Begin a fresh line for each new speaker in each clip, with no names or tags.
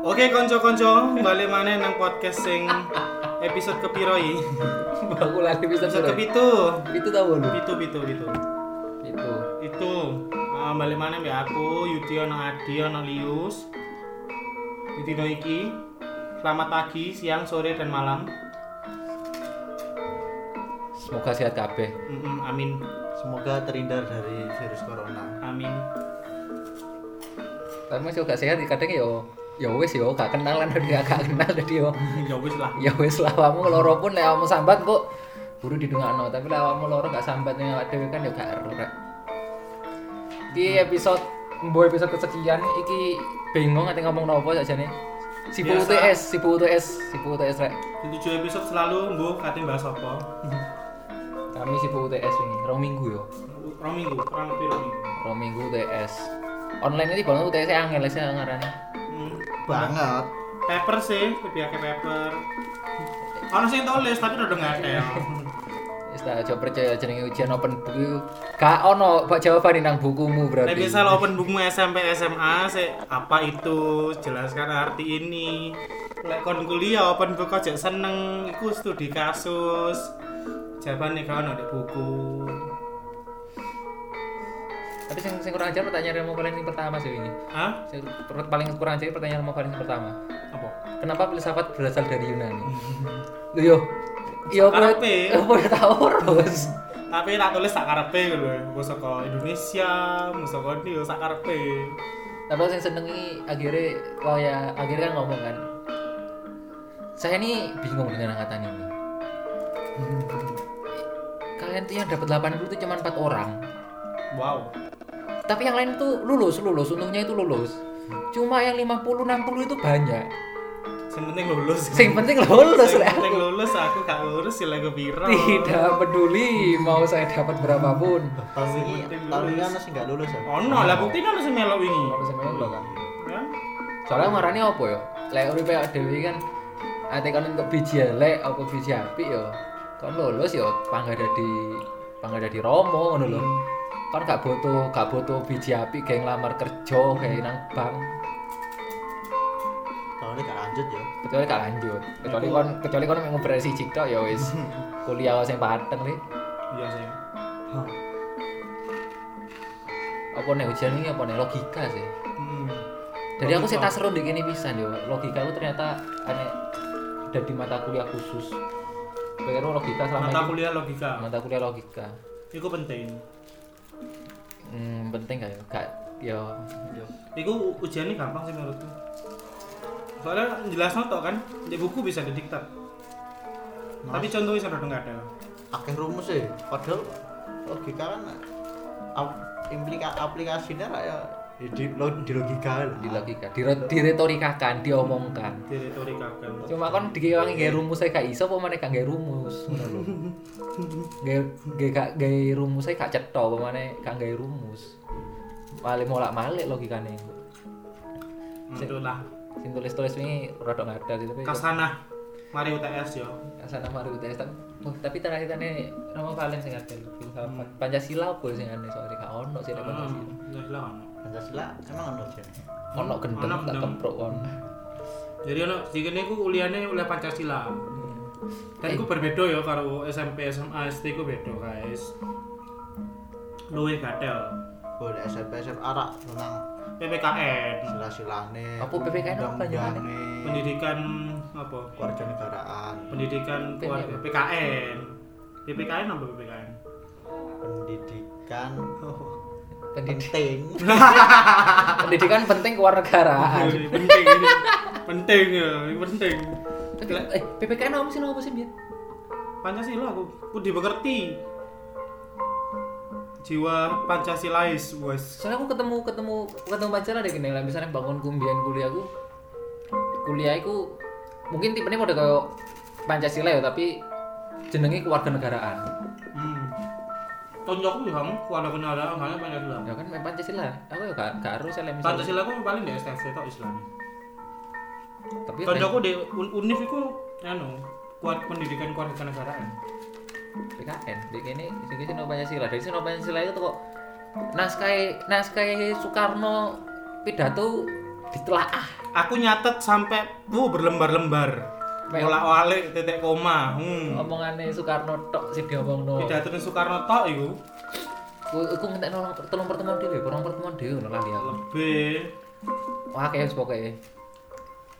Oke konco-konco, balik mana nang podcast sing episode kepiroi
Aku lagi bisa
Episode
suruh.
kepitu
Itu tahu lu.
Pitu, pitu, pitu
Itu.
Itu ah, balik mana ya aku, Yudi, ono Adi, ono Lius Yudi Iki Selamat pagi, siang, sore, dan malam
Semoga sehat kabeh.
Mm-mm, Amin,
Semoga terhindar dari virus corona.
amin
Tapi masih gak sehat kadang yo ya wis yo gak kenal kan dadi gak kenal dadi yo.
Ya wis lah
Ya wis lah awakmu loro pun lek awakmu sambat kok buru didungakno tapi lek awakmu loro gak sambat ning awak dhewe kan yo gak ero rek. Di episode mbo episode kesekian iki bingung ati ngomong nopo sakjane. Sipu
Biasa.
UTS, Sipu UTS, Sipu UTS rek.
Di tujuh episode selalu, mbuh, katanya bahas apa
Kami Sipu UTS ini, rong minggu yo.
Rong minggu, kurang lebih rong minggu
Rong minggu UTS. Online ini kalau UTS angel sih ngarane.
Hmm.
Banget.
paper sih lebih akeh paper ono sing tulis tapi udah nggak ada ya
Wis tak aja percaya jenenge ujian open book iku. Gak ono bak jawaban nang bukumu berarti.
Nek bisa lo open buku SMP SMA sih apa itu jelaskan arti ini lek kon kuliah open book aja seneng iku studi kasus jawaban nih kan di buku
Tapi sing sing kurang ajar pertanyaan yang mau paling pertama sih ini.
Hah?
Sing per- paling kurang ajar pertanyaan yang mau paling pertama.
apa
Kenapa filsafat berasal dari Yunani? Lho yo. Yo
Karepe.
Apa ya tau terus.
tapi tak tulis sak karepe gitu loh mau saka Indonesia mau saka ndi yo sak karepe
Tapi yang senengi akhirnya waya akhirnya kan ngomong kan. Saya ini bingung dengan angkatan ini. Kalian tuh yang dapat 80 itu cuma 4 orang.
wow
tapi yang lain tuh lulus lulus untungnya itu lulus cuma yang 50 60 itu banyak
sing penting lulus
sing penting lulus
Sing
lah
penting lulus aku gak lulus ya lego piro
tidak peduli mau saya dapat berapapun
Tahun
Sing
ini
penting
tahun ini
lulus.
ana sing gak lulus ya.
Ono lah bukti ono sing melok wingi.
Apa sih melok, kan?
Ya.
soalnya marane apa ya lek uripe awake dhewe kan ate kan untuk biji elek apa biji apik ya kan lulus ya panggada di panggada di romo ngono lho kan gak butuh gak butuh biji apik kayak ngelamar kerja kayak nang bank
Tahun ini gak lanjut ya.
kecuali gak lanjut kecuali kon kecuali kon mau ngobrol siji tok ya wis
Hmm.
kuliah sing pateng nih
Iya sih.
Hah.
apa nih ujian ini apa nih logika sih
Hmm.
dari aku sih
Logika.
tak seru di gini pisan yo logika aku ternyata aneh ada di mata kuliah khusus pengen logika
Mata
selama ini-
kuliah logika.
mata kuliah logika
Iku penting.
hmm, penting gak ya gak yo
Iku ujiannya gampang sih menurutku. Soalnya jelas tok kan, di buku bisa didiktat. Tapi contohnya sudah nggak ada.
Akeh rumus sih. Padahal logika kan ap- implika aplikasinya lah ya Ya, di, lo- di logika lah.
di
Ah.
logika di, diretorikakan diomongkan
Di retorika kan.
cuma kan dikewangi gak rumus saya gak iso apa mana gak gak rumus ngono lho. gak gak- gak gak rumus saya gak cetok apa mana gak gak rumus malah molak malik logikanya
Itulah.
sing tulis tulis ini rada nggak ada sih tapi
Kasana. Mari UTS yo.
kasana mari UTS tapi oh, tapi terakhir tadi nama paling sing ada filsafat pancasila apa sing aneh soalnya gak ono sih ada pancasila
Hmm, jelas lah ono.
Pancasila emang ono sih.
ono gendeng
Ono
tak
gendeng.
kemprok on
Jadi ono sikene iku kuliahnya oleh Pancasila. Dan iku berbeda ya karo SMP, SMA, SD iku beda, guys. Luwih gatel.
Boleh SMP SMP arak tentang
PPKN
sila-silane.
Apa ya, PPKN apa
undang-undangnya,
pendidikan apa
keluarga negaraan,
pendidikan
P-
keluarga PKN PPKN apa PPKN
pendidikan
Oh, pendidikan
penting.
pendidikan penting kewarganegaraan
penting ini. penting ya ini penting
Tapi, eh ppkn apa sih apa sih biar
Pancasila aku aku dimengerti jiwa Pancasilais wes
soalnya aku ketemu ketemu ketemu pacar ada gini lah misalnya bangun kumbian kuliahku kuliahku mungkin tipenya udah kayak pancasila ya tapi jenenge kewarganegaraan
hmm. tonjokku ya kamu keluarga kenyataan hanya Pancasila
ya kan main pancasila aku ya gak gak harus lah misalnya
Pancasila aku paling di STF atau Islam
tapi kan?
tonjokku di Un- UNIF itu anu kuat pendidikan keluarga negaraan
PKN dek ini sing iki Sino Pancasila dari Sino Pancasila itu kok naskah naskah Soekarno pidato ditelaah
Aku nyatet sampai uh berlembar-lembar.
Mel.
Bolak-balik titik koma. Hmm.
omongane Soekarno tok sing diomongno
Pidato Soekarno tok iku
aku aku ngentekno telung pertemuan dhewe kurang pertemuan dhewe ngono lali aku
lebih
wah kayak wis pokoke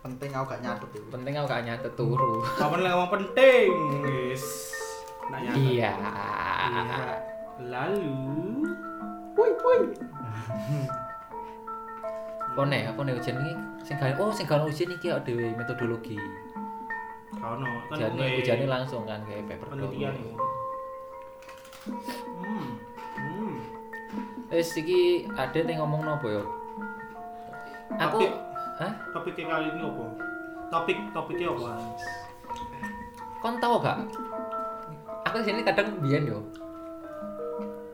penting aku gak nyatet itu
penting aku gak
Hmm.
nyatet turu
Kapan lek ngomong penting, wis. Nak nyatet.
iya
Iya. Lalu
woi woi
kone kone ujian iki sing gawe oh sing gawe ujian iki awake dhewe metodologi
kono kan
ujiane
gue
ujiane langsung kan kayak paper
penelitian
boy.
iku. Hmm. Hmm.
Wis iki ade ning ngomong nopo yo? Aku
Topik.
Hah?
Topiknya kali ini apa? Topik topiknya apa?
Kon tau gak? Aku di sini kadang biyen yo.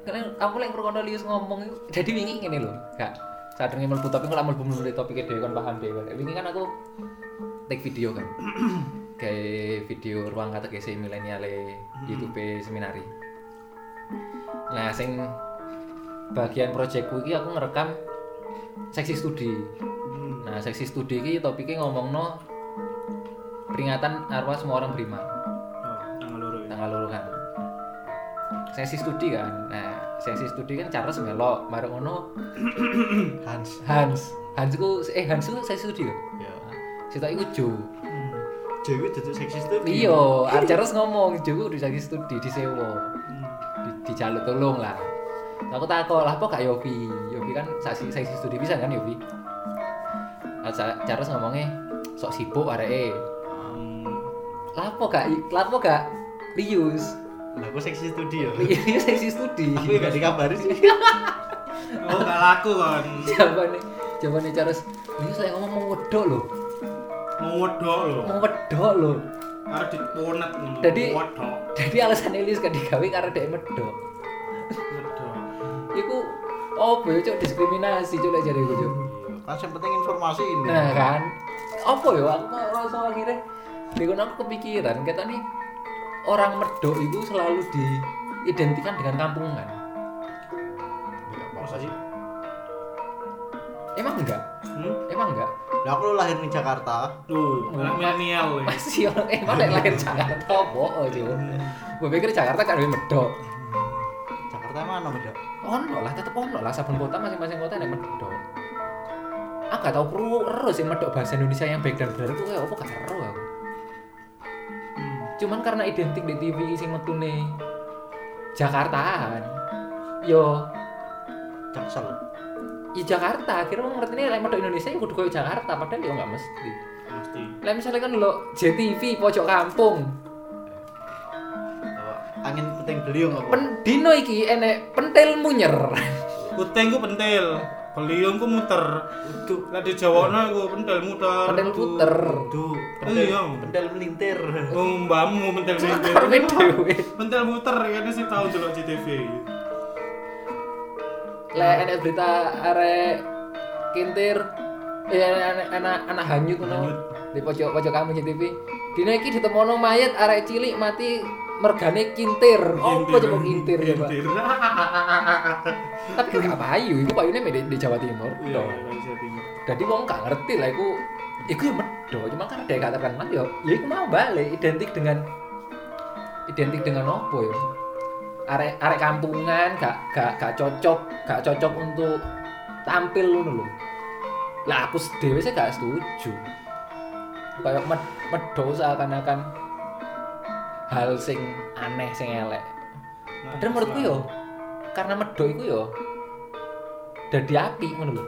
Karena aku lagi ngrungokno Lius ngomong iku, jadi wingi ngene lho, gak sadurunge mlebu topik kok lak mlebu mlebu topike dhewe kon paham dhewe. Wingi kan aku take video kan. Kayak video ruang kata kese mileniale e, YouTube e, seminari. Nah, sing bagian proyekku iki aku ngerekam seksi studi.
Hmm.
Nah, seksi studi ini topiknya ngomongno peringatan arwah semua orang beriman
Oh, tanggal loro ya.
tanggal loro kan. Seksi studi kan. Nah, seksi studi kan Charles melok, bareng ngono
Hans
Hans. Hans ku eh Hans ku seksi studi. kan?
ya
Sitok iku Jo.
Hmm.
Dewi jadi seksis tuh
Iya, Ar- Charles ngomong Jo ku di seksi studi di sewa.
Hmm.
Di, dijaluk tolong lah. Aku takut lah, kok gak Yopi? Yopi kan seksi, seksi studi bisa kan Yopi? Nah, Cha- Charles ngomongnya sok sibuk areke. lapo gak lapo gak lius
lah aku seksis tuh dia
lius seksi studi
aku gak dikabari sih
Oh, gak laku kon.
jawabannya jawabannya Charles lius lagi ngomong mau wedok loh
Ngewedok lho.
mau wedok loh
Arep diponet ngono.
Jadi-
wedok.
jadi alasan lius gak digawe karena dia medok
Wedok.
itu apa ya cok diskriminasi cok jadi gue cok
kan yang penting informasi ini
nah kan apa ya aku kok rasa akhirnya Dikon aku kepikiran, kata nih orang medok itu selalu diidentikan dengan kampungan.
masa sih
Emang enggak?
Hmm.
Emang enggak?
lah aku lahir di Jakarta
Tuh, anak milenial weh.
masih orang eh mana yang lahir Jakarta bohong aja gue pikir Jakarta kan lebih medok
Jakarta mana beda
ono lah tetep ono lah saben kota masing-masing kota ada medok aku Ah, gak tau perlu ero sih medok bahasa Indonesia yang baik dan benar itu kayak apa gak ero aku
Hmm.
cuman karena identik di TV sing metune Jakartaan yo
Jaksel
i Jakarta akhirnya wong ngerti nih lek medok Indonesia ya kudu koyo Jakarta padahal yo nggak mesti
Mesti.
lek misalnya kan lo JTV pojok kampung
Apa? angin penting beliung apa
Pen, dino iki enek pentil munyer
Kuting ku pentil, beliung ku muter.
Duh,
Lah di Jawana ku pentil muter.
Pentil puter.
duh,
Iya.
pendel, pendel melintir.
Wong mbamu pentil muter.
Tapi dhewe.
Pentil muter kene sih tau delok CTV.
Lek enek berita arek kintir eh anak anak anak hanyut ngono. Di pojok pojok kamu JTV. Dina iki ditemono mayat arek cilik mati mergane kintir. Oh, apa coba kintir coba.
Kintir. Iya,
Tapi kan gak payu, iku payune mek di, di Jawa Timur.
Iya,
dong.
dari Jawa Timur.
Jadi wong gak ngerti lah iku iku ya medho, cuma karena dia gak terkenal yo. Ya iku mau balik identik dengan identik dengan apa ya? Arek arek kampungan gak gak gak cocok, gak cocok untuk tampil ngono lho. Lah aku dhewe sih gak setuju. Kayak med medho seakan-akan hal sing aneh sing elek.
Nah,
Padahal menurutku yo karena medho iku yo dadi api ngono lho.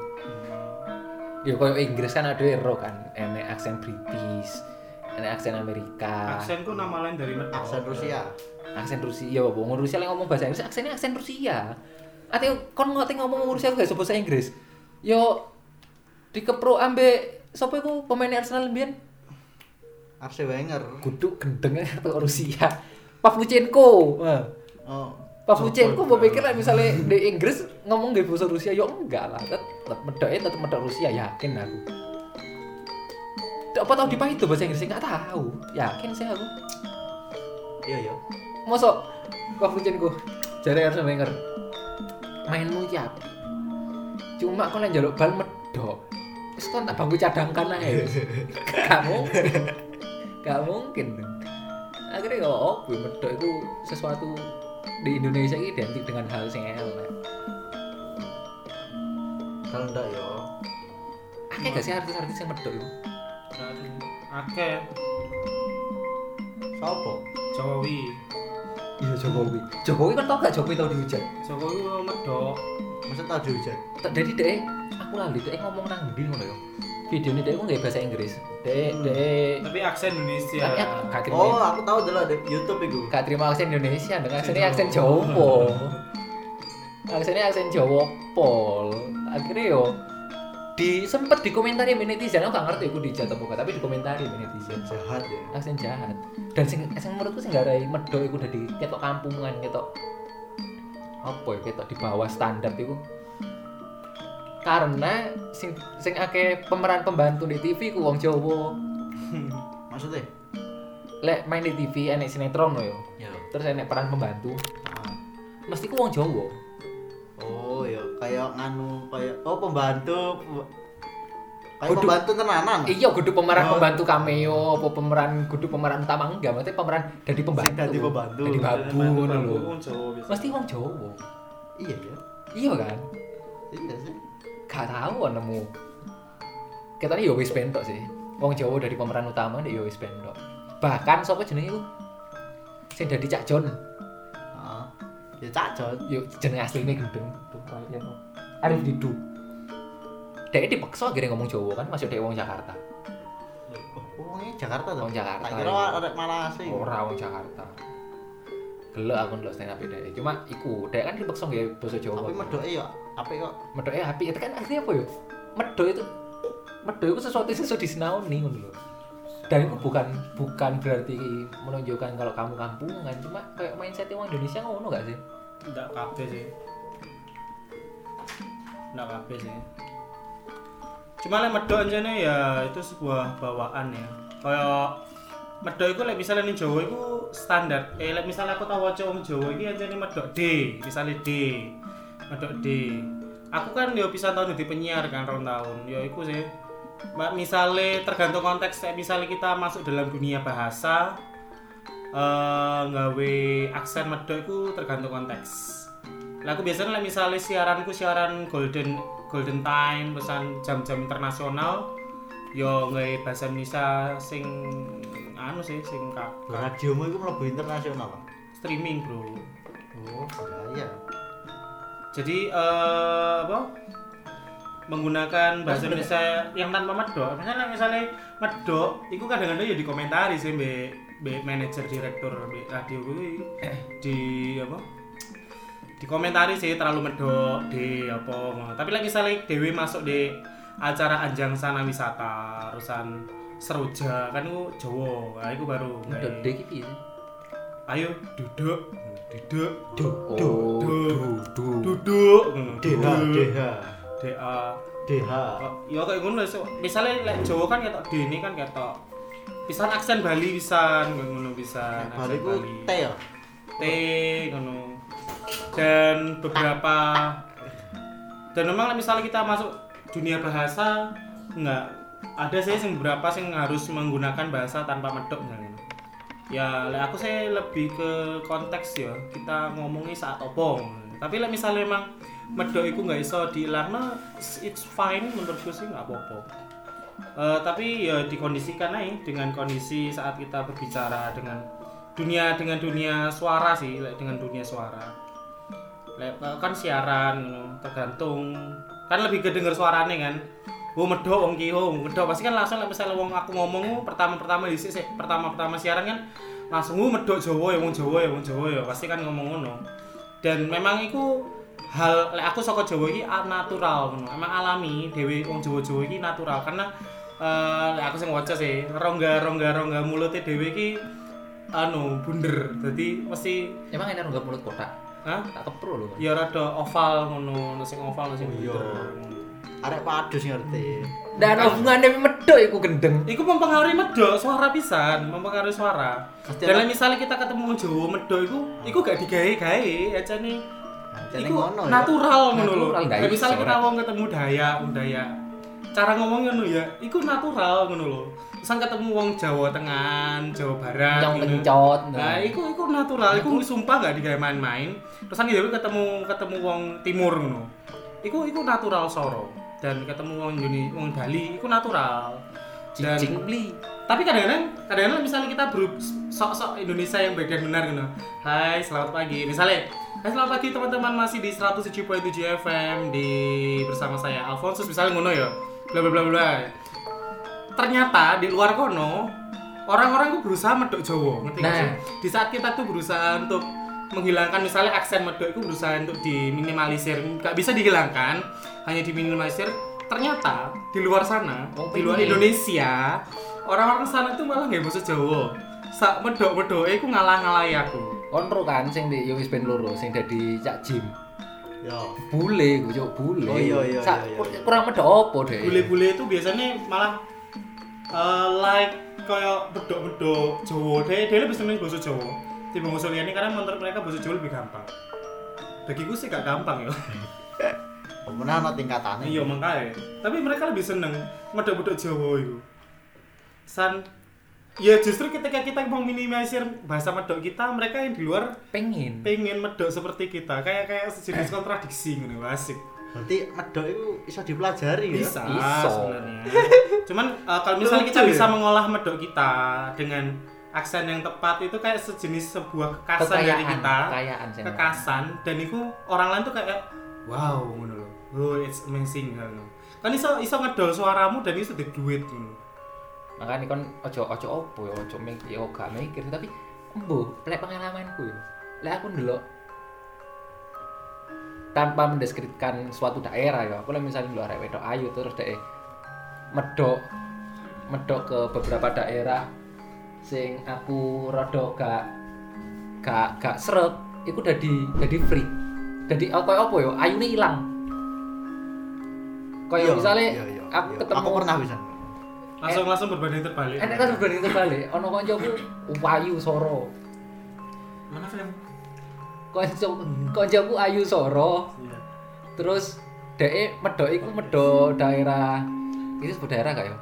Ya koyo Inggris kan ada ero kan, enek aksen British, enek aksen Amerika, aksen,
Aksen ku nama lain dari Medok.
Aksen Rusia.
Rusia, apa ngomong Rusia lagi ngomong bahasa Inggris, aksennya aksen Rusia. Ate kon ngerti ngomong Rusia gak iso bahasa Inggris. Yo dikepro ambe sapa iku pemain Arsenal mbiyen?
Arsene Wenger.
Guduk gendeng kartu Rusia. Pavluchenko. Wah.
Oh,
Pavluchenko mau pikir lah misalnya di Inggris ngomong gak bahasa Rusia, yo enggak lah, tetep medoknya tetep medok Rusia yakin aku. Tidak apa tahu di itu bahasa Inggris nggak tahu, yakin sih aku.
iya iya
Mosok kok kucingku jare harus Wenger. Mainmu iki apa? Cuma kok nek njaluk bal medhok. Wis kon tak bangku cadangkan ae. Gak mungkin. Gak mungkin. Akhirnya kok opo medhok itu sesuatu di Indonesia ini identik dengan hal sing elek.
kalau ndak yo
Akeh gak sih artis-artis yang medhok itu?
Akeh
sopo
Jokowi.
Iya Jokowi. Jokowi kan tau gak Jokowi tau dihujat.
Jokowi mau medok.
masa tau dihujat
Tak- Jadi deh, aku lali deh ngomong nang ndi ngono ya. Videonya deh aku nggak bahasa Inggris. Deh
Hmm. Iya.
deh.
Tapi aksen Indonesia.
Tapi aku gak terima.
oh aku tahu dulu di YouTube itu
Gak terima aksen Indonesia dengan
Aksen
aksennya aksen
Jawa.
Jawa. aksennya aksen Jawa pol. Akhirnya yo di sempet dikomentari sama netizen aku gak ngerti aku di jatah muka tapi dikomentari sama netizen
jahat ya
aksen jahat dan sing sing menurutku sing garai medok iku udah ketok kampungan ketok apa ya ketok di bawah standar iku karena sing sing akeh pemeran pembantu di TV ku wong Jawa
maksudnya
lek main di TV enek sinetron lho yo
ya
terus enek peran pembantu
Ah.
mesti ku wong Jawa
oh ya kayak nganu kayak oh pembantu pem- kayak
Waduh.
pembantu tenanan
iya kudu pemeran
Oh.
pembantu cameo apa pemeran kudu pemeran utama enggak mesti pemeran dadi pembantu
Sing dadi pembantu.
dadi babu ngono lho mesti
Mesti
wong Jawa
iya ya
iya kan
iya sih
gak tahu aku nemu katanya ya wis bentok sih wong Jawa dari pemeran utama dia ya wis bentok bahkan sapa jenenge iku sing dadi Cak Jon
Ah. ya cacon
yo jeneng asline gendeng Arif Didu dia dipaksa akhirnya ngomong Jawa kan masuk dia wong Jakarta
Wongnya Jakarta tuh.
Wong Jakarta,
Tak kira
iya.
arek Malasih.
ora wong Jakarta gelek aku ndelok stand up dia cuma iku dia kan dipaksa nggak basa Jawa
Tapi medoke ya apik kok.
medoke api itu kan artinya apa ya medok itu medok itu sesuatu yang sesuatu disinauni ngono lho dan itu bukan bukan berarti menunjukkan kalau kamu kampungan cuma kayak mindset orang Indonesia ngono gak sih
ndak kabeh sih. Ndak kabeh sih. Cuma lek medok jane ya itu sebuah bawaan ya. Kayak medok iku lek misalnya ning Jawa iku standar. Eh lek misalnya aku tau waca wong Jawa iki jane medok D, misalnya D. Medok D. Aku kan yo pisan tahun di penyiar kan rong tahun. Ya iku sih. Ma- Misalnya tergantung konteks, kayak misalnya kita masuk dalam dunia bahasa, eh nggawe aksen medok iku tergantung konteks. Lah aku biasanya lah misalnya siaranku siaran golden golden time pesan jam-jam internasional yo nggawe bahasa Indonesia sing anu sih sing ka- ka-
Radiomu iku mlebu internasional.
Oh.
Pak.
streaming bro.
Oh, iya.
Jadi eh apa? menggunakan bahasa Indonesia yang tanpa medok. Misalnya misalnya medok, itu kadang-kadang ya dikomentari sih mbek mbek manajer direktur mbek radio kuwi di apa? Dikomentari sih terlalu medok di apa ngono. Tapi lagi misalnya Dewi masuk di acara Anjang Sana Wisata, urusan Seroja kan itu Jawa, nah, itu baru.
medok
kayak,
deh gitu sih
Ayo duduk, duduk,
do do do do
duduk,
DH,
duduk.
DH,
DA
DH.
Oh, ya kayak ngono lho. Misale lek Jawa kan ketok D ini kan ketok. Pisan aksen Bali pisan kayak ngono pisan.
Nek
aksen
Bali ku T ya.
T ngono. Dan beberapa dan memang lek misalnya kita masuk dunia bahasa enggak ada sih yang beberapa sing harus menggunakan bahasa tanpa medok misalnya. Ya, lek aku saya lebih ke konteks ya. Kita ngomongi saat opo. Tapi lek misalnya memang medok iku nggak iso diilangno, it's fine menurutku sih nggak apa-apa. Eh, tapi ya dikondisikan aja dengan kondisi saat kita berbicara dengan dunia dengan dunia suara sih, lek dengan dunia suara. Lek kan siaran ngono, tergantung kan lebih kedenger suarane kan. Oh medok wong ki oh medok pasti kan langsung lek misalnya wong aku ngomong oh, pertama-pertama dhisik sik, pertama-pertama siaran kan langsung oh medok Jawa ya wong Jawa ya wong Jawa ya pasti kan ngomong ngono. Dan memang iku hal lek aku saka Jawa iki a- natural ngono. Emang alami dhewe wong Jawa-Jawa iki natural karena eh, lek aku sing waca sih rongga-rongga-rongga mulutnya dhewe iki anu bunder. Dadi mesti
emang enak nggak mulut kotak
Hah?
tak kepro loh
ya rada oval ngono ono sing oval ono sing
Oh, iya.
bunder
arek padus ngerti.
Dan hubungannya medok iku gendeng.
Iku mempengaruhi medok suara pisan, mempengaruhi suara.
Pasti
Dan
ana-
misalnya kita ketemu Jawa medok iku, iku gak digawe-gawe aja nih.
Jane
Iku
ngono ya.
natural ngono lho.
Natural, nggak
Kayak
iso,
misalnya kita
ora.
wong ketemu Dayak, wong Dayak. Cara ngomongnya ngono ya, iku natural ngono lho. Sang ketemu wong Jawa Tengah, Jawa Barat
Kencot
iya.
ngono.
kencot.
Nah, iku iku natural, iku sumpah gak digawe main-main. Terusan ya ketemu ketemu wong timur ngono. Iku iku natural soro dan ketemu wong Yuni, wong Bali iku natural. Dan
cicing beli.
tapi kadang-kadang kadang-kadang misalnya kita beru sok-sok Indonesia yang baik dan benar gitu. Hai, selamat pagi. Misalnya, hai selamat pagi teman-teman masih di 107.7 FM di bersama saya Alfonsus misalnya ngono ya. Bla bla bla bla. Ternyata di luar kono orang-orang tuh berusaha medok Jawa, ngerti nggak
Nah.
sih? Di saat kita tuh berusaha untuk menghilangkan misalnya aksen medok itu berusaha untuk diminimalisir, nggak bisa dihilangkan, hanya diminimalisir. Ternyata di luar sana,
Wong
di luar
pengen.
Indonesia orang-orang sana tuh malah nggak bahasa Jawa sak medok medok aku ngalah ngalahi aku
Kontro kan sing di yo wis ben loro sing dadi Cak Jim.
Yo.
Bule iku cuk bule.
Oh, iya, iya,
Sak-
iya, iya.
kurang medok opo deh.
bule-bule itu biasanya malah eh, like kayak medok medok Jawa deh dia lebih seneng bahasa Jawa tiba bahasa liane karena menurut mereka bahasa Jawa lebih gampang bagiku sih gak gampang ya
Pemenang ana tingkatane.
iya makanya tapi mereka lebih seneng medok medok Jawa itu san ya justru ketika kita mau minimalisir bahasa medok kita mereka yang di luar
Pengen.
pengen medok seperti kita kayak kayak sejenis kontradiksi ngono asik
Berarti medok itu bisa dipelajari ya.
bisa
Iya, Iso.
sebenarnya cuman eh, kalau misalnya
Lucu
kita
ya?
bisa mengolah medok kita dengan aksen yang tepat itu kayak sejenis sebuah kekasan dari
Kekayaan,
kita
kekayaan sih.
kekasan dan itu orang lain tuh kayak wow ngono lho oh it's amazing ngono kan iso iso ngedol suaramu dan iso di duit ngono
Makane kon ojo ojo opo ya ojo mik yo gak mikir tapi embo lek pengalamanku ya. Lek aku ndelok tanpa mendeskripsikan suatu daerah ya. Aku lek misalnya ndelok arek wedok ayu terus dek medok medok ke beberapa daerah sing aku rada gak gak gak seret iku dadi dadi free. Dadi oh, koyo opo ya ayune ilang. Koyo
iya,
misalnya
iya,
aku
iya.
ketemu
Aku pernah bisa.
langsung
Eh,
langsung berbanding terbalik
enak kan berbanding terbalik ono konco ku ayu soro
mana film
konco konco ku ayu soro
Iya.
terus dee medok iku medok daerah itu sebut daerah gak ya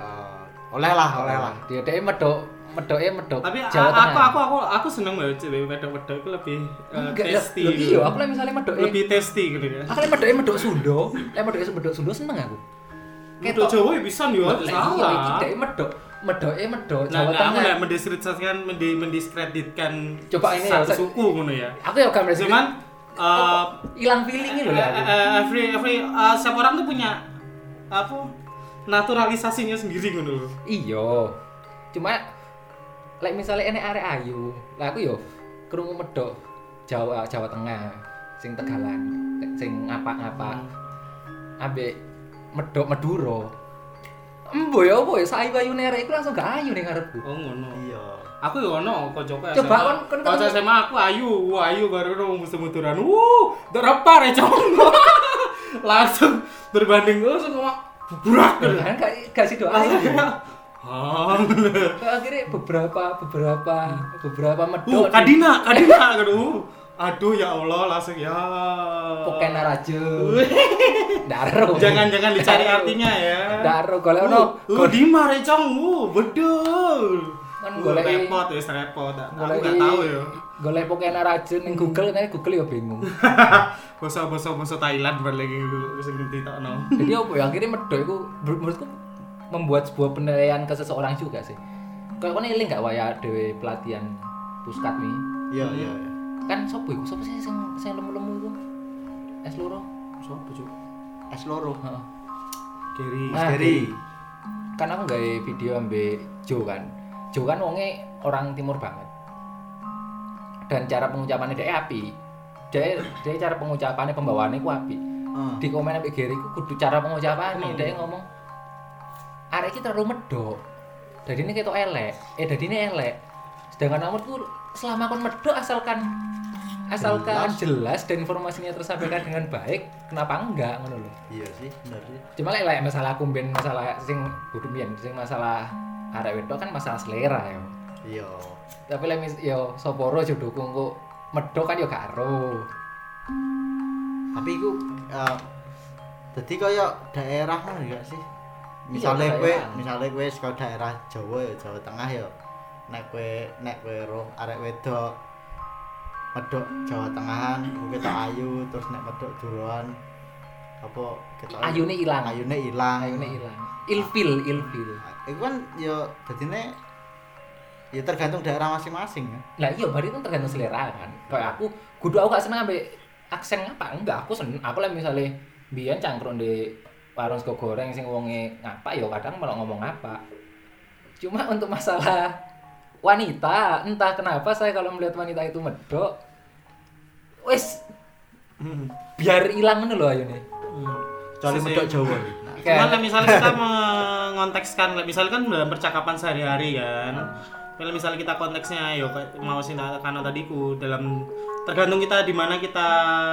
Eh, oleh lah, oleh lah.
dia dee medok medok medok
tapi a-
Jawa
aku
Tengah
aku aku aku seneng loh cewek wedok-wedok itu lebih eh,
Enggak, lho,
tasty
lho,
gitu.
iya aku lek misalnya medok
lebih tasty gitu ya
aku lek medok medok Sunda lek medok medok Sunda seneng aku
Medok Jawa ya bisa nih,
Lek
aja
iya iki
salah.
dee medok medok medok
Nah,
Jawa
nah, aku
Tengah
nggak mendiskreditkan, mendi- mendiskreditkan
Coba ini
satu
ya, saya-
suku ngono ya.
aku ya gak merasa
Cuman eh,
hilang feelingnya lho
eh,
lek aku
eh, every every eh, setiap orang tuh punya apa naturalisasinya sendiri ngono loh.
Iya. Cuma lek misalnya enek arek ayu, lah aku yo krungu medok Jawa Jawa Tengah sing Tegalan, sing ngapa-ngapa ambek medok Madura. Embo ya apa ya sayu-ayune arek iku langsung gak ayu ning ngarepku.
Oh ngono.
Iya.
Aku yo ono kancaku SMA.
Coba kon- kon
Kanca
ketemu-
SMA aku ayu, wah ayu baru ono musim muturan. Wuh, terapar ya cowok. Langsung berbanding langsung sama burak. gitu.
Kan gak gak sido
Langsung
ayu.
kayak, Hah.
Akhirnya beberapa beberapa beberapa
Uh,
medok di
Kadina, Kadina, aduh, aduh ya Allah, langsung ya.
Pokena Raja.
Uh.
Daro.
Jangan-jangan dicari
Daro.
artinya ya.
Daro golek ono
Uh, uh, di Marecong, uh, bedul. Uh,
Kan golek-
repot, wis repot. Aku
Golek-
gak tahu ya.
Golek pokoknya racun ning Google, nanti Google ya bingung.
Bosok-bosok bosok Thailand balik lagi dulu, wis ngerti tak no.
Jadi apa ya akhirnya medok itu menur- menurutku membuat sebuah penilaian ke seseorang juga sih. Kalau kau eling gak waya dewe pelatihan puskat mi,
Iya, iya, iya.
kan sopo iku sopo sih sing sing lemu-lemu iku? Es loro.
Sopo, Cuk? Es loro.
Heeh.
Kiri.
Ah.
Dari
Kan aku gawe video ambek Jo kan. Jo kan wonge orang timur banget. Dan cara pengucapannya dia api. Dia, dia cara pengucapannya pembawaannya ku api.
Heeh.
di komen ambek Gary ku kudu cara pengucapannya
Emang?
dia ngomong arek iki terlalu medok jadi ini ketok elek eh jadi ini elek sedangkan menurutku selama kon medok asalkan asalkan jelas dan informasinya tersampaikan dengan baik kenapa enggak ngono lho
iya sih bener sih
cuma lek lek masalah kumben masalah sing kudu mbiyen sing masalah arek wedok kan masalah selera ya
iya
tapi lek mis- yo soporo jodohku kok medok kan yo gak ero
tapi itu eh, jadi kaya daerah kan enggak sih misalnya
Iya,
kue
daerah.
misalnya kue sekolah daerah Jawa ya Jawa Tengah ya nek kue nek kue roh arek wedok medok Jawa Tengahan kue ketok ayu terus nek medok duruan apa ketok
ayune ilang
ayune ilang
ayune ilang ilfil ilfil
itu kan ya jadinya ya tergantung daerah masing-masing ya
lah iya berarti kan tergantung selera kan kayak aku kudu aku gak seneng ambek aksen apa enggak aku seneng aku lah misalnya biyen cangkruk di warung sego goreng sing wonge ngapa ya kadang malah ngomong apa cuma untuk masalah wanita entah kenapa saya kalau melihat wanita itu medok wes
Hmm.
biar hilang ngono lho ayune
Hmm.
kecuali
Sisi-
medok Jawa nah,
Cuman
kayak
misalnya kita mengontekskan, misalkan dalam percakapan sehari-hari kan. Kalau misalnya kita konteksnya, yo kayak mau sih karena tadiku dalam tergantung kita di mana kita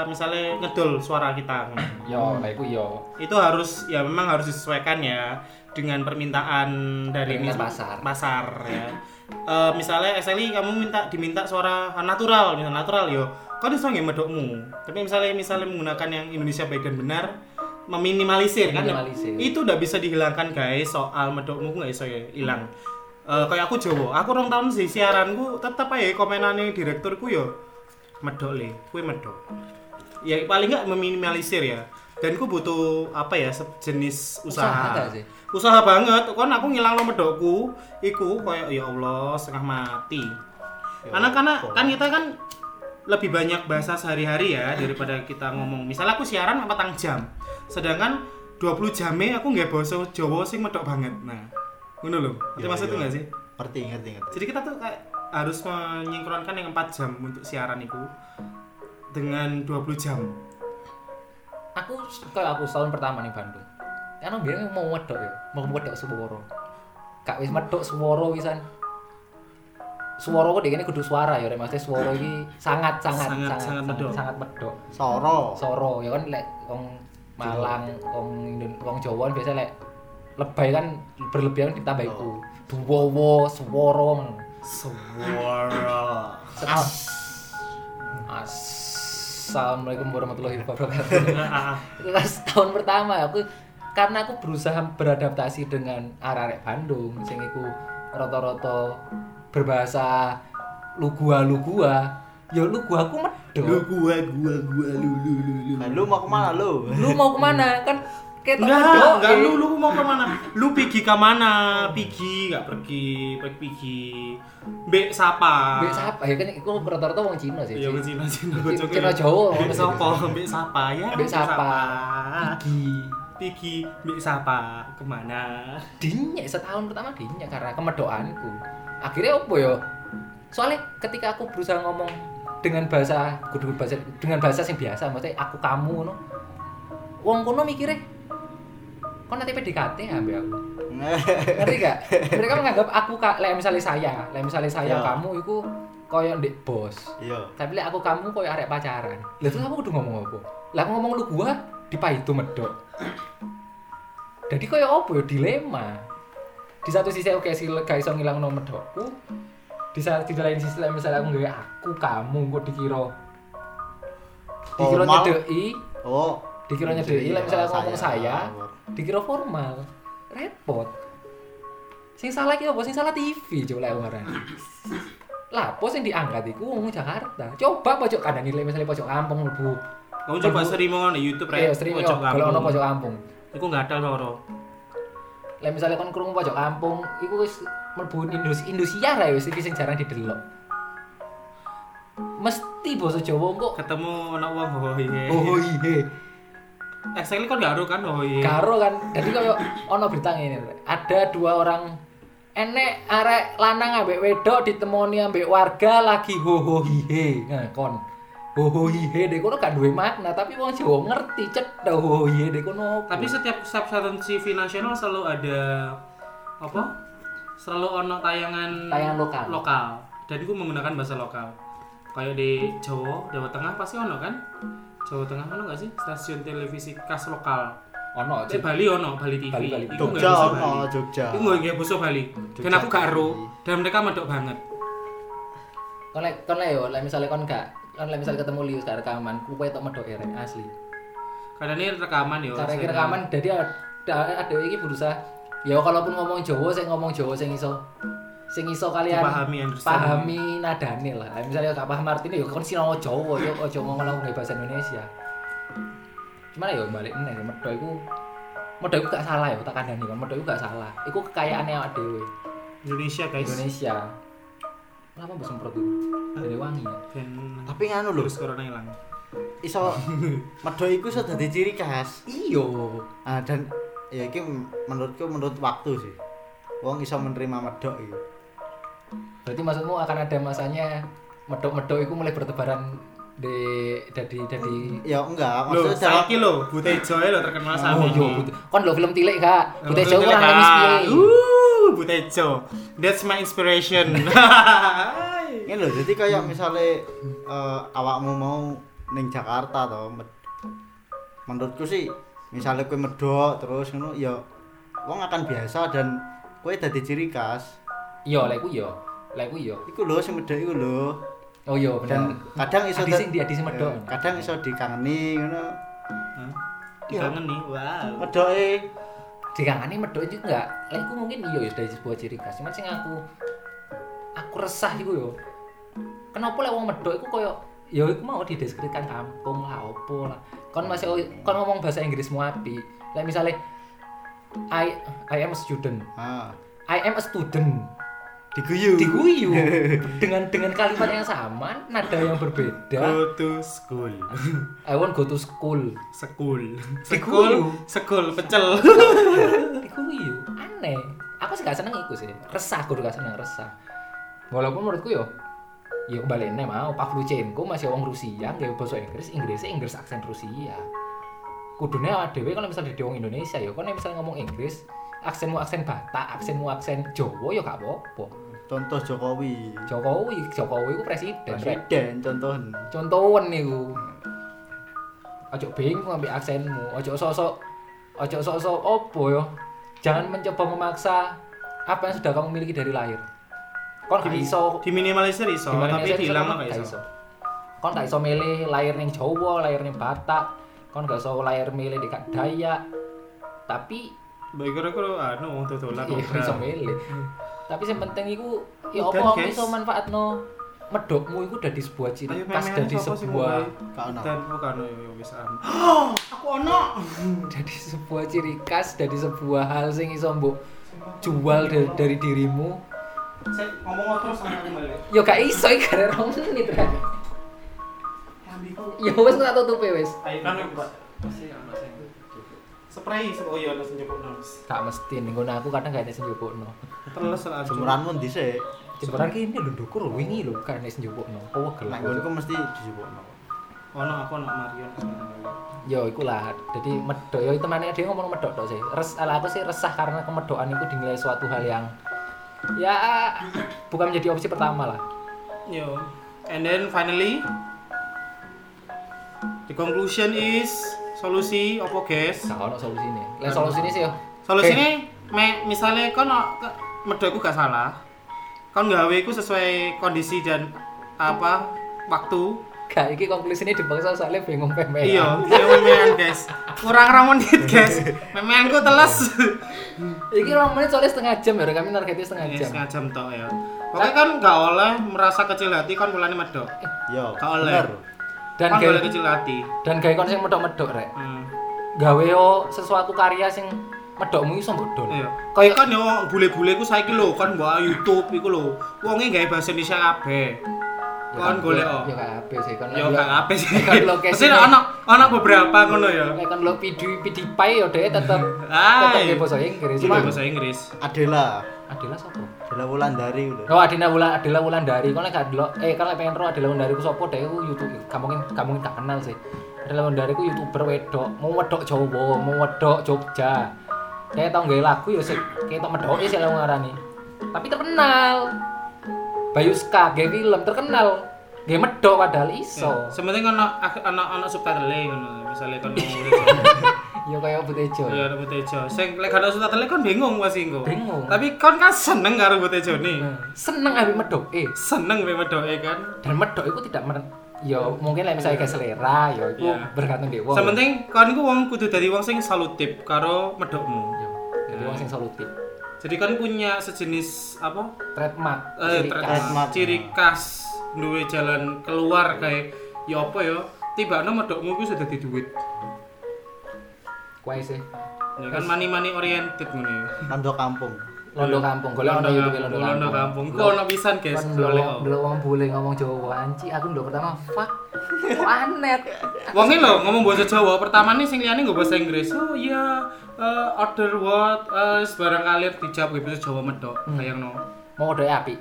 misalnya ngedul suara kita. kan.
yo lah iku yo
Itu harus ya memang harus disesuaikan ya dengan permintaan dari mis-
Permintaan pasar.
pasar ya. Eh, misalnya SLI kamu minta diminta suara natural, misalnya natural yo, kan iso nggih medokmu. Tapi misalnya misalnya menggunakan yang Indonesia baik dan benar meminimalisir kan
Minimalisir.
itu udah bisa dihilangkan guys soal medokmu nggak iso ya hilang Eh kayak aku Jawa aku rong tahun sih siaranku tetep aja komenannya direkturku yo medok le kue medok ya paling nggak meminimalisir ya dan ku butuh apa ya sejenis
Usaha
usaha
nggak sih?
usaha banget kon aku ngilang nomor medokku iku kayak ya Allah setengah mati karena karena kan kita kan lebih banyak bahasa sehari-hari ya daripada kita ngomong misalnya aku siaran 4 jam sedangkan 20 jamnya aku nggak bahasa Jawa sing medok banget nah ngono lho itu
Iya,
maksud itu
iya.
nggak sih
ngerti ngerti ngerti
jadi kita tuh kayak harus menyinkronkan yang 4 jam untuk siaran itu dengan 20 jam
aku kalau aku setahun pertama nih Bandung karena biar mau wedok ya mau wedok suworo kak wis medok suworo wisan suworo kok dikene kudu suara ya Rek. maksudnya suworo iki sangat sangat
Sangat,
sangat
sangat medok.
sangat medok
Soro
soro ya kan lek wong Malang wong Indon- wong Jawa kan biasa lek lebay kan berlebihan ditambah
Oh.
iku duwowo suworo ngono.
suara
Setahun. Assalamualaikum warahmatullahi wabarakatuh kelas tahun pertama aku karena aku berusaha beradaptasi dengan arek-arek Bandung sing iku rata-rata berbahasa lugua-lugua ya lugua aku
lu
medok
gua gua gua lu lu lu lu
Nah, lu mau kemana lu?
lu mau kemana kan ketok
Enggak, Hmm. enggak
eh.
lu lu mau kemana? Lu pergi ke mana? Pergi enggak pergi, pergi pergi. Mbek sapa?
Mbek sapa ya kan iku rata-rata wong Cina sih
Ya wis Cina Cina
Ci-
bojoke.
Cina Jawa
Mbek sapa? Mbek sapa ya?
Mbek sapa?
iya.
Iki.
Pergi mbek sapa kemana?
dinyek setahun pertama dinyek karena kemedokanku akhirnya apa ya soalnya ketika aku berusaha ngomong dengan bahasa kudu bahasa dengan bahasa yang biasa maksudnya aku kamu no wong kono mikirnya kok nanti PDKT ambil aku ya, ngerti gak mereka menganggap aku kak lek misalnya saya lek misalnya saya
Iya.
kamu itu koyok ndek bos
Iya.
tapi lek aku kamu koyok arek pacaran lah terus aku kudu ngomong apa lah aku ngomong lu gua di itu medok jadi koyo apa ya dilema di satu sisi oke sih lega iso ngilang nomor medokku di saat di lain sisi lain misalnya aku nggawe aku kamu kok dikira dikira
Formal.
nyedeki
Oh.
dikira nyedeki lah Iya, misalnya aku ngomong saya
Ngawur.
dikira formal repot sing salah iki apa sing salah TV coba lek ngaran lah apa sing diangkat iku wong Jakarta coba pojok kanan nilai misalnya pojok kampung mlebu
Kamu coba streaming ngono di YouTube
ayo
rek.
sering
Pojok
Iya, kalau ono
kampung.
pojok kampung
Iku enggak ada loro.
Lah misalnya kon krungu pojok kampung, iku wis mlebu industri industriar ya wis iki sing jarang didelok. Mesti basa Jawa kok.
Ketemu anak wong hohoi.
Oh iya.
Exactly kon enggak ada kan hohoi.
Karo kan. Jadi koyo ono berita ngene, Rek. ada dua orang enek arek lanang ambek wedok ditemoni ambek warga lagi hoho hihe. Nah, kon hoho hihe dek kono gak duwe makna, tapi wong Jawa ngerti cedhak hoho hihe dek kono. apa.
Tapi setiap setiap stasiun TV nasional selalu ada apa? Selalu ono tayangan
Tayangan lokal.
Lokal. Dan gue menggunakan bahasa lokal. kayak di Jawa Jawa Tengah pasti ono kan Jawa Tengah ono gak sih stasiun televisi khas lokal
ono
di
Cuk.
Bali ono Bali TV
Bali, Bali.
Iku nggak
Jogja
bisa Bali
ono Jogja.
Iku nggak nggak bisa Bali dan
Jogja
aku gak ero
TV.
dan mereka medok banget
kon lek kon lek yo lek misale kon gak kon lek misale ketemu Lius gak rekaman kuwe tok medok erek asli
karena ini rekaman ya
cara
saya-
kira rekaman jadi ada ada iki berusaha ya kalaupun ngomong Jawa sing ngomong Jawa sing iso sing iso kalian
Dipahami, understand.
pahami nadane lah misalnya gak paham artine ya kon sinau Jawa ya aja ngomong langsung dari bahasa Indonesia gimana ya balik nih medho iku medho iku gak salah ya tak kandani kon medho iku gak salah iku kekayaane awak dhewe
Indonesia guys
Indonesia lama mbok semprot iku dari wangi ya
dan
Tapi nganu lho,
terus corona hilang
iso medho iku iso dadi ciri khas.
iyo
Ah dan ya iki menurutku menurut waktu sih. Wong iso menerima medhok iki.
berarti maksudmu akan ada masanya medok-medok iku mulai bertebaran di dadi dadi
Ya
lo
enggak, maksudnya dalam
saiki lo Butejo lo ya terkenal sama
oh yo Bute- kon lo film tilik kak bute jauh orang ngemis piye
Uh, Butejo. That's my inspiration.
Ini loh, jadi kayak misalnya eh, awakmu mau neng Jakarta toh, med- menurutku sih misalnya kue medok terus ngono ya wong akan biasa dan kue dadi ciri khas.
yo Iya, lek ku yo lek iya. ku yo
Iku lho sing medok iku lho.
oh yo bener
Dan kadang iso
Adi
da-
sing di- adi sing medok.
Eh, Kadang iso dikangeni ngono.
Hah? Dikangen nih. Wow.
Medoke
dikangani medok juga enggak lek ku mungkin iyo ya dari sebuah ciri khas cuman sing aku aku resah iku yo kenapa lek wong medok iku koyo ya iku mau dideskripsikan kampung lah opo lah kon
Hmm.
masih kon ngomong bahasa Inggrismu api lek misalnya I I am a student
ah
I am a student
diguyu.
diguyu dengan dengan kalimat yang sama nada yang berbeda
Go to school.
I want go to school
Sekul. Sekul.
Dikuyu.
Sekul pecel.
diguyu aneh aku sih gak seneng iku sih resah aku gak seneng resah walaupun menurutku yo yo balik mau Pavluchenko masih orang Rusia nggak bahasa Inggris Inggrisnya Inggris aksen Rusia kudunya awak dhewe kalau misalnya dadi wong Indonesia yo kalau misalnya ngomong Inggris aksenmu aksen Batak aksenmu aksen Jawa yo gak apa-apa
Contoh Jokowi.
Jokowi Jokowi ku presiden Rek.
Presiden contoh.
contohan niku ojo bingung ambil aksenmu ojo sosok ojo sosok opo yo jangan mencoba memaksa apa yang sudah kamu miliki dari lahir kon gak Ah, iso
Diminimalisir iso,
gimana
tapi
bisa iso,
dihilangno
kon
gak iso.
kon gak iso milih lahir ning Jawa lahir ning Batak kon gak iso lahir milih di Kak Dayak tapi
Mbak kira-kira anu wong dodolan
iya
obra.
iso milih tapi yang penting iku ya
Udan,
apa
guys.
iso manfaatno medokmu iku dari sebuah ciri
Ayo
khas
memehan
dari
sapa sing
sebuah
mulai?
Kak ono.
Dan bukan yo yo wis ah. am. Aku ono.
dari sebuah ciri khas dari sebuah hal sing iso mbok jual dari, dari dirimu
Saya ngomong terus sama aku balik.
yo gak iso iki gara rong menit Ra. yo wis tak tutupi wis
Ayo kan aku Pak. Masih ono sing. Spray, oh iya ono sing njupuk nose.
gak mesti ning kono aku kadang gak ada sing njupukno
Terus lah. Cuk.
Jemuranmu dhisik.
sebenarnya kene lho ndukur lho, wingi lho gak ada sing njupukno apa
Nek
gelem
nggonku mesti dijupukno.
Ono aku ono Marion.
yo iku lah jadi medok yo temannya dia ngomong medok tok sih res ala aku sih resah karena kemedokan itu dinilai suatu hal yang ya bukan menjadi opsi pertama lah
Yo. And then finally the conclusion is solusi opo guys?
gak ono solusine lah solusine sih yo
Solusinya me misalnya kon no- ke- medho iku gak salah. Kon gawe iku sesuai kondisi dan apa waktu.
Gak, iki konklusine dipaksa soalnya bingung pemean.
Iya, iya memean guys. Kurang rong menit guys. Memeanku teles.
Iki rong menit soalnya setengah jam ya, kami targetnya setengah
Ya,
jam.
Setengah jam tok ya. Pokoknya kan gak oleh merasa kecil hati kon mulane medho.
Yo.
Gak oleh.
bener.
Dan
Kon gak
gawe
oleh kecil hati.
dan gawe kon sing medok-medok rek.
Hmm.
Gawe yo sesuatu karya sing medokmu iso mbok dol.
Iya.
Kayak-
Kayak kan yo bule-bule ku saiki lho kan mbok YouTube iku lho. Wonge gawe bahasa Indonesia kabeh.
Ya
Kon
kan,
golek
yo-
oh.
Yo gak apik sih kon.
Yo gak kabeh sih.
Kon lokasi.
Mesti ono ono beberapa ngono ya.
Nek kon lo video PewDiePie yo dhek tetep tetep
Hai.
nggih basa Inggris.
Itu
Cuma
bahasa Inggris.
Adela.
Adela sapa?
Adela Wulandari udah.
Oh Adina Wulan Adela Wulandari kon lek gak delok eh kon lek pengen ro Adela Wulandari ku sapa dhek ku YouTube gak mungkin gak mungkin gak kenal sih. Adela Wulandari ku YouTuber wedok, mau wedok Jawa, mau wedok Jogja. Kayak tau nggak lagu ya sih, kayak tau medoki sih yang ngarani. Tapi terkenal. Bayu Ska, gay film terkenal. Nggih medhok padahal iso.
Sementing kan ana ana ana subtitle ngono. Misale kon
Iya.
ngomong
Ya kaya butejo.
ya ana Butejo. Sing lek gak ana subtitle kon bingung pasti engko.
Bingung. Nah.
Tapi kon kan seneng karo Butejone.
Seneng ambek medhok eh.
Seneng be medoke kan.
Dan medhok itu tidak men ya mungkin lah misalnya kayak selera ya itu
Iya.
bergantung dewa.
Sementing kon iku wong kudu dadi wong sing salutip karo medokmu.
Ya, Jadi wong sing solutif.
Jadi kon punya sejenis apa?
Trademark.
eh,
ciri khas.
trademark ciri khas duwe jalan keluar kayak ya apa ya tiba no medokmu itu sudah di duit
Kuwi sih.
ya kan money money oriented ngono ya
Londo kampung.
Londo kampung, golek ono
londo
YouTube
kampung
Londo
londo kampung
kampung.
kok ono pisan guys golek
Belum
oh.
belum boleh ngomong Jawa anci, aku udah pertama fuck. Kok aneh.
wonge e lho ngomong bahasa Jawa pertama nih sing liyane nggo bahasa Inggris oh iya eh, order what eh, sebarang kalir dijawab gitu bahasa Jawa medok
Hmm.
kayak no
Mau udah api.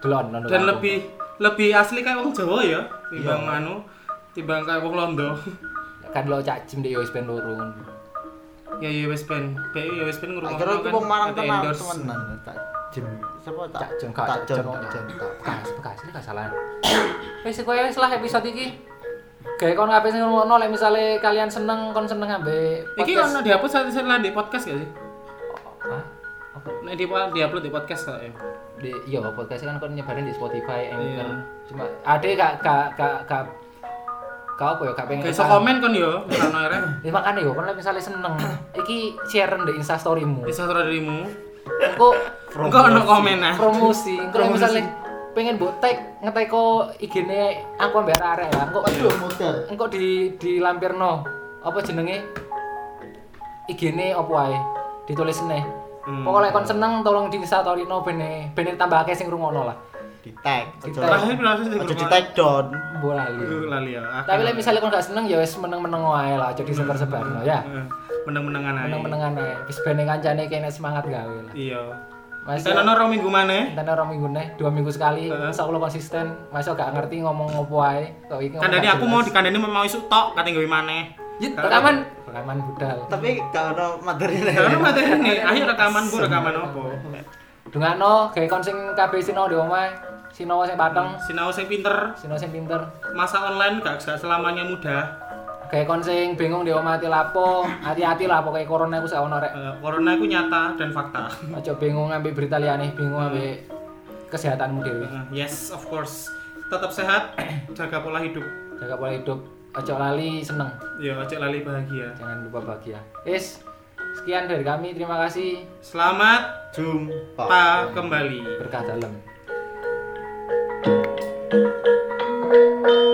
Delon Londo
dan
kampung.
lebih lebih asli kayak wong Jawa ya timbang anu timbang kayak wong Londo
kan lo cak jim deh yo ispen lurung.
ya ya wis ben BU ya wis ben ngrungokno
Akhirnya aku wong Malang
ada
tenan
endorse.
temenan. Tak jem. Siapa tak
Cak Jong, Kak,
tak
Cak
jem
Jong,
tak jem tak.
Bekas, Ah, bekas, ini kesalahan. Wis kowe wis lah episode iki. Kayak kon kabeh sing ngono lek misale kalian seneng kon seneng ambek
Iki ono dihapus satu satu lah di podcast gak sih?
Hah? Apa?
Nek di diupload di podcast kok ya.
Di iya podcast kan kon nyebarin di Spotify, Anchor.
Iya.
Cuma ade gak gak gak gak Kau apa ya gak pengen
Kayak iso komen kon yo, misalnya arek.
Ya makane yo kon lek misale seneng, iki share di Insta storymu.
Bisa surat dirimu.
Engko
Engko ono komen ah.
promosi, engko lek
Promosi.
misale pengen mbok tag ngetek ko IG-ne aku ambek arek ya. Engko
Waduh modal.
engko di di lampirno apa jenenge IG-ne apa wae ditulis neh
Hmm.
pokoknya kon seneng tolong di satorino bene bene tambah akeh sing rungono lah
Di tag.
Di tag.
Ojo
Terakhir berhasil di
ojo di
grup
tag down.
Mbok lali
Aku lali ya. aku
tapi lek
lali.
misalnya kon gak seneng ya wis meneng-meneng wae lah aja disebar-sebarno ya
Eh, meneng-menengan ae.
meneng-menengan ae wis bene kancane kene semangat gawe lah
Iya.
Mas
Kita ono rong minggu maneh.
Tanda orang minggu nih, dua minggu sekali, insyaallah konsisten. Masa gak ngerti ngomong ngopo wae. Kok iki ngomong
Kandani
gak
aku mau
Iya, jelas.
dikandani mau isuk tok kate gawe maneh.
Yit, rekaman, rekaman budal.
Tapi gak ono materi
Kalau materi nih, ayo rekaman bu rekaman opo.
Dungano gawe kon sing kabeh sinau di omah, sinau sing pateng,
Sinau sing pinter,
sinau sing pinter.
masa online gak gak selamanya mudah.
Gawe kon sing bingung di omah ati lapo, hati-hati lah pokoke corona iku sak ono rek.
Eh, corona itu nyata dan fakta.
Aja bingung ngambil berita liyane, bingung
Hmm.
ambek kesehatanmu dhewe.
Eh, yes, of course. Tetap sehat, jaga pola hidup.
Jaga pola hidup, aja lali seneng,
Ya, cek lali bahagia.
jangan lupa bahagia. Is, sekian dari kami, terima kasih.
Selamat
Jumpa.
pa kembali.
Berkah dalam.
Thank